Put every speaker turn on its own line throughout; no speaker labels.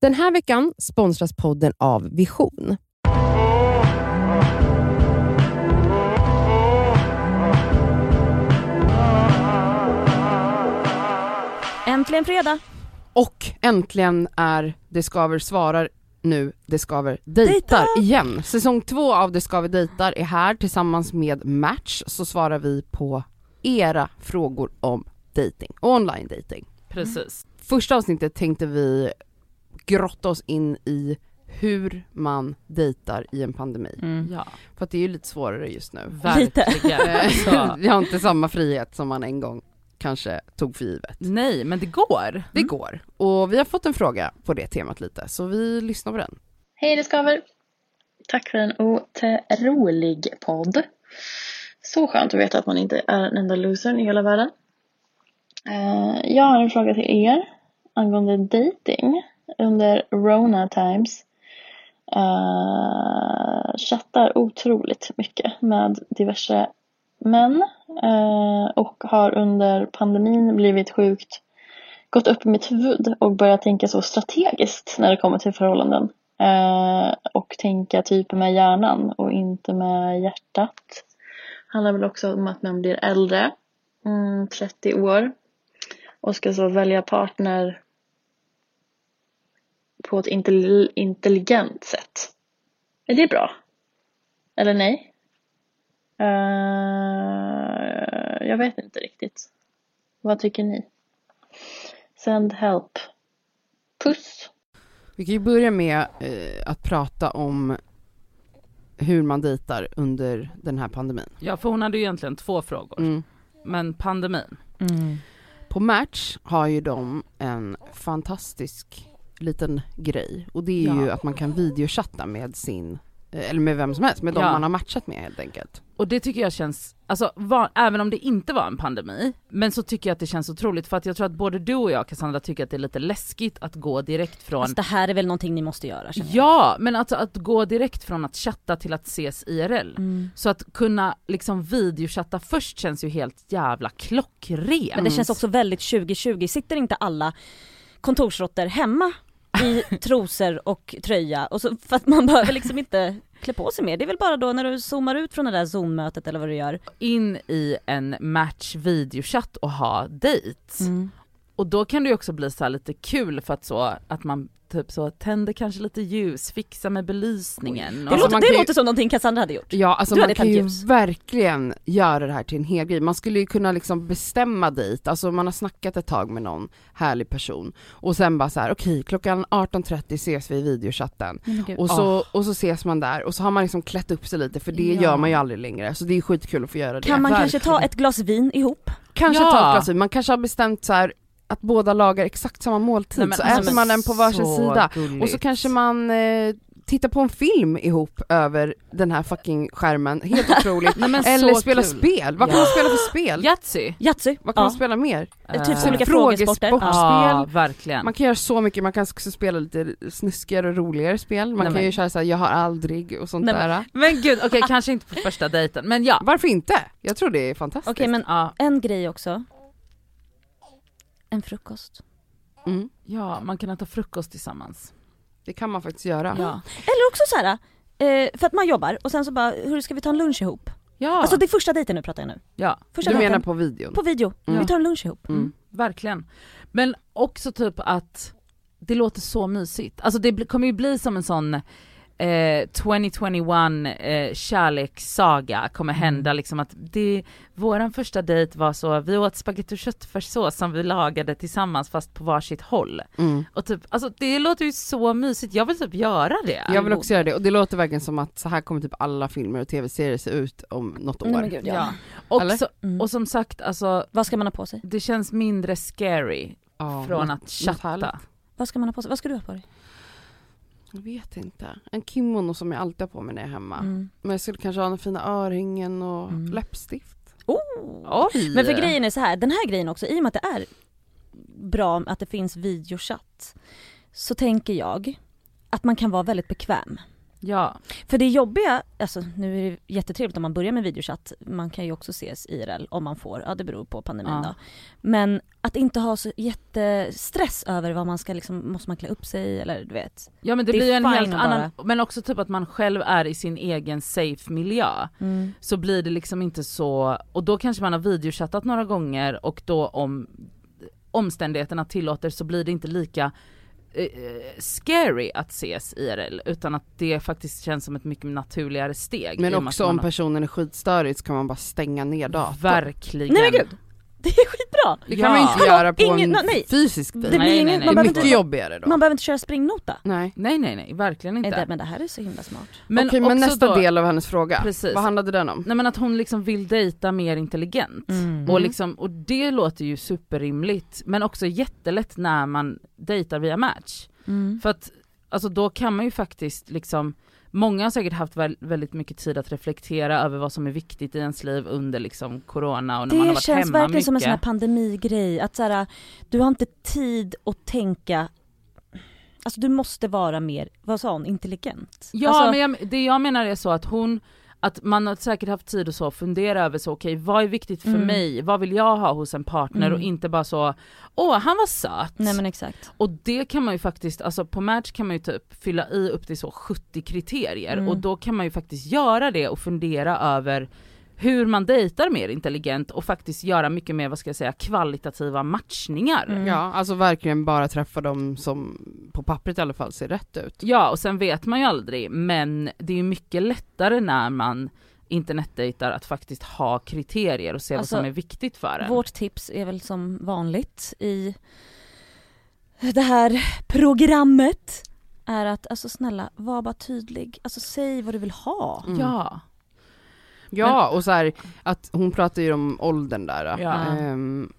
Den här veckan sponsras podden av Vision.
Äntligen fredag!
Och äntligen är Det Skaver svarar nu Det Skaver dejtar igen. Säsong två av Det Skaver dejtar är här tillsammans med Match så svarar vi på era frågor om dating, online dating.
Precis.
Första avsnittet tänkte vi grotta oss in i hur man dejtar i en pandemi.
Ja,
För att det är ju lite svårare just nu.
Lite.
verkligen.
Eh,
Alltså,
Vi har inte samma frihet som man en gång kanske tog för givet.
nej, men det går.
Det går. Och vi har fått en fråga på det temat lite, så vi lyssnar på den.
Hej det skaver! Tack för en otrolig podd. Så skönt att veta att man inte är den enda losern i hela världen. Eh, Jag har en fråga till er angående dating under Rona times. Eh, chattar otroligt mycket med diverse män eh, och har under pandemin blivit sjukt gått upp i mitt huvud och börjat tänka så strategiskt när det kommer till förhållanden. Eh, och tänka typ med hjärnan och inte med hjärtat. Handlar väl också om att man blir äldre, mm, 30 år. Och ska så välja partner på ett intel- intelligent sätt. Är det bra? Eller nej? Eh, jag vet inte riktigt. Vad tycker ni? Send help. Puss.
Vi kan ju börja med eh, att prata om hur man dejtar under den här pandemin. Mm.
Ja, för hon hade ju egentligen två frågor. Men pandemin.
På Match har ju de en fantastisk liten grej och det är
Ja.
ju att man kan videochatta med sin, eh, eller med vem som helst, med de
Ja.
man har matchat med helt enkelt.
Och det tycker jag känns, alltså va- även om det inte var en pandemi, men så tycker jag att det känns otroligt för att jag tror att både du och jag Cassandra tycker att det är lite läskigt att gå direkt från
Alltså, det här är väl någonting ni måste göra känner jag.
Ja, men alltså att gå direkt från att chatta till att ses IRL.
Mm.
Så att kunna liksom videochatta först känns ju helt jävla klockrent.
Men det känns också väldigt 2020, sitter inte alla kontorsråttor hemma i trosor och tröja? Och så, för att man behöver liksom inte klä på sig mer, det är väl bara då när du zoomar ut från det där zoom-mötet eller vad du gör.
in i en match videochatt och ha dates.
Mm.
Och då kan det ju också bli så här lite kul för att så att man typ så tänder kanske lite ljus, fixar med belysningen.
Det,
Alltså, man
låter,
kan
det
ju-
låter som någonting Cassandra hade gjort.
Ja alltså
Du hade
man kan
tänt
ju
ljus.
verkligen göra det här till en hel grej. Man skulle ju kunna liksom bestämma dejt, alltså man har snackat ett tag med någon härlig person och sen bara så här: okej klockan 18.30 ses vi i videochatten. Och så, och så ses man där och så har man liksom klätt upp sig lite för det
Ja.
gör man ju aldrig längre så det är skitkul att få göra det.
Kan man kanske
Verkligen.
ta ett glas vin ihop?
Kanske
Ja.
ta ett glas vin, man kanske har bestämt så här att båda lagar exakt samma måltid
Nej, men
så
alltså,
äter
men
man den på varsin
så
sida och så
gulligt.
kanske man eh, tittar på en film ihop över den här fucking skärmen, helt otroligt.
Nej, men
Eller
så
spela
kul.
spel, vad kan man spela för spel?
Yatzy!
Yatzy?
Vad kan
Ja.
man spela mer?
Eh, Typ
Eh,
så olika
frågesport.
frågesporter. Ja.
Ja, verkligen.
Man kan göra så mycket, man kan också spela lite snuskigare och roligare spel, man
Nej,
kan
men-
ju köra såhär jag har aldrig och sånt
Nej, men-
där.
Men gud, okej kanske inte på första dejten men ja.
Varför inte? Jag tror det är fantastiskt.
Okej men
ja.
en grej också. En frukost.
Mm,
Ja, man kan äta frukost tillsammans.
det kan man faktiskt göra.
Ja.
Eller också så här. eh, För att man jobbar och sen så bara, hur ska vi ta en lunch ihop?
Ja,
Alltså det är första dejten nu pratar jag nu.
ja.
Första
Du menar
dejten
på videon?
på video,
Mm.
vi tar en lunch ihop.
Mm.
Verkligen. Men också typ att det låter så mysigt. Alltså det bli- kommer ju bli som en sån eh, 2021 eh, kärlekssaga kommer
Mm.
hända liksom att det, våran första dejt var så, vi åt spagetti och köttfärssås som vi lagade tillsammans fast på varsitt håll.
Mm.
Och typ, alltså det låter ju så mysigt, jag vill typ göra det.
Jag vill också göra det och det låter verkligen som att så här kommer typ alla filmer och tv-serier se ut om något år.
Nej, men gud, ja.
Ja. Och,
Eller?
så,
Mm.
och som sagt alltså,
Vad ska man ha på sig?
det känns mindre scary
Ja,
från
något-
att
något härligt.
chatta.
Vad ska man ha på sig? Vad ska du ha på dig?
Jag vet inte. En kimono som jag alltid har på mig när jag är hemma.
Mm.
Men jag skulle kanske ha den fina örhängen och
Mm.
läppstift.
Oh.
Oj!
Men för grejen är så här, den här grejen också, i och med att det är bra att det finns videochatt så tänker jag att man kan vara väldigt bekväm.
Ja.
För det jobbiga, alltså nu är det jättetrevligt om man börjar med videochatt, man kan ju också ses IRL om man får, ja det beror på pandemin
Ja.
då. Men att inte ha så jättestress över vad man ska liksom, måste man klä upp sig eller du vet.
Ja men det,
Det är
blir ju en
fine
helt
att
annan, men också typ att man själv är i sin egen safe miljö. Så blir det liksom inte så, och då kanske man har videochattat några gånger och då om omständigheterna tillåter så blir det inte lika eh, scary att ses IRL utan att det faktiskt känns som ett mycket naturligare steg.
Men
i och med
också
att
om
man har-
personen är skitstörig så kan man bara stänga ner datorn.
Verkligen.
Nej men gud! Det är skitbra!
Det kan man
Ja.
ju inte göra på
ingen-
en
nej.
fysisk
Det
dejt.
blir
Nej,
ingen,
nej,
Det
nej.
Man,
är
behöver
mycket
inte,
jobbigare då.
man behöver inte köra springnota.
Nej.
Nej nej nej, verkligen inte.
Nej, det- Men det här är så himla smart.
Men Okej men
också
nästa
då-
del av hennes fråga,
Precis.
vad handlade den
Mm.
om?
Nej men att hon liksom vill dejta mer intelligent. Och, liksom, och det låter ju superrimligt men också jättelätt när man dejtar via match.
Mm.
För att alltså då kan man ju faktiskt liksom, många har säkert haft väl, väldigt mycket tid att reflektera över vad som är viktigt i ens liv under liksom corona och när man har
Det
varit
känns
hemma
verkligen
mycket.
som en sån här pandemigrej, att så här, du har inte tid att tänka Alltså du måste vara mer, vad sa hon, intelligent?
Ja
alltså,
men jag, det jag menar är så att hon, att man har säkert haft tid och så att fundera över så okej vad är viktigt för
Mm.
mig, vad vill jag ha hos en partner
Mm.
och inte bara så åh han var söt.
Nej men exakt.
Och det kan man ju faktiskt, alltså på Match kan man ju typ fylla i upp till så 70 kriterier
Mm.
och då kan man ju faktiskt göra det och fundera över hur man dejtar mer intelligent och faktiskt göra mycket mer, vad ska jag säga, kvalitativa matchningar.
Mm.
Ja, alltså verkligen bara träffa dem som på pappret i alla fall ser rätt ut.
Ja och sen vet man ju aldrig men det är ju mycket lättare när man internetdejtar att faktiskt ha kriterier och se
Alltså,
vad som är viktigt för en.
Vårt tips är väl som vanligt i det här programmet är att alltså snälla var bara tydlig, alltså säg vad du vill ha.
Mm.
Ja.
Ja och så här, att hon pratar ju om åldern där.
Ja.
Ehm,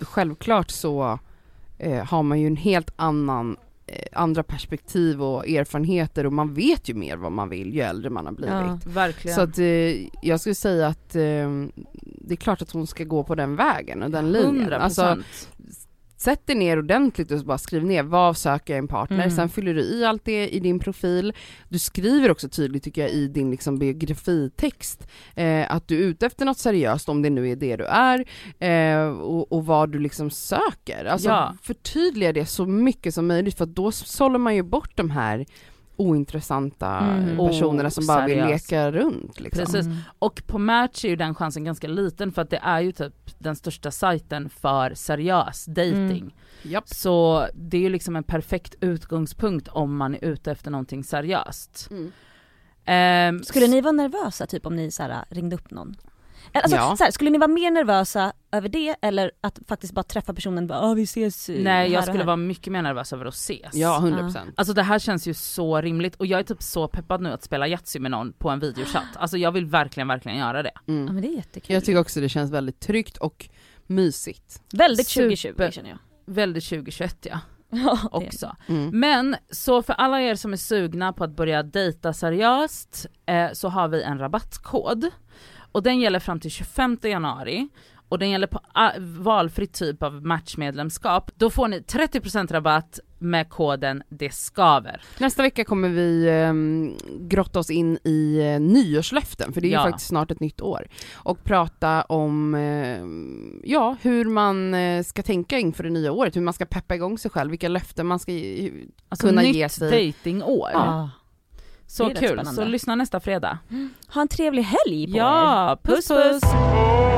självklart så eh, har man ju en helt annan, eh, andra perspektiv och erfarenheter och man vet ju mer vad man vill ju äldre man har blivit.
Ja.
Verkligen.
Så att eh, jag skulle säga att eh, det är klart att hon ska gå på den vägen och den linjen.
100%.
Alltså sätt dig ner ordentligt och bara skriv ner vad söker jag i en partner,
Mm.
sen fyller du i allt det i din profil. Du skriver också tydligt tycker jag i din liksom biografitext eh, att du är ute efter något seriöst om det nu är det du är eh, och, och vad du liksom söker. Alltså
Ja.
förtydliga det så mycket som möjligt för att då sållar man ju bort de här ointressanta
Mm.
personerna som bara vill
Oseriöst.
leka runt. Liksom.
Precis. Och på Match är ju den chansen ganska liten för att det är ju typ den största sajten för seriös dating.
Mm.
Japp.
Så det är ju liksom en perfekt utgångspunkt om man är ute efter någonting seriöst.
Mm.
Ehm,
Skulle ni vara nervösa typ om ni så här, ringde upp någon? Eller, Alltså,
Ja.
så här, skulle ni vara mer nervösa över det eller att faktiskt bara träffa personen och bara "Ah, vi ses eh, här
Nej jag
och
skulle
här."
vara mycket mer nervös över att ses.
Ja, 100 procent.
Alltså det här känns ju så rimligt och jag är typ så peppad nu att spela Yatzy med någon på en videochatt. Alltså jag vill verkligen, verkligen göra det.
Mm.
Ja men det är jättekul.
Jag tycker också det känns väldigt tryggt och mysigt.
Väldigt
Super.
2020 känner jag.
Väldigt 2021 ja,
Ja, det-
också.
Mm.
Men så för alla er som är sugna på att börja dejta seriöst eh, så har vi en rabattkod. Och den gäller fram till 25 januari och den gäller på a- valfri typ av matchmedlemskap. Då får ni 30% rabatt med koden det skaver.
Nästa vecka kommer vi ehm, grotta oss in i eh, nyårslöften, för det är
Ja.
ju faktiskt snart ett nytt år. Och prata om ehm, ja, hur man eh, ska tänka inför det nya året, hur man ska peppa igång sig själv, vilka löften man ska ge.
Alltså
Kunna
nytt
ge sig-
dejtingår.
Ja.
Så
det är rätt
kul,
spännande.
så lyssna nästa fredag.
Ha en trevlig helg på er.
Ja, puss puss!
puss.
puss.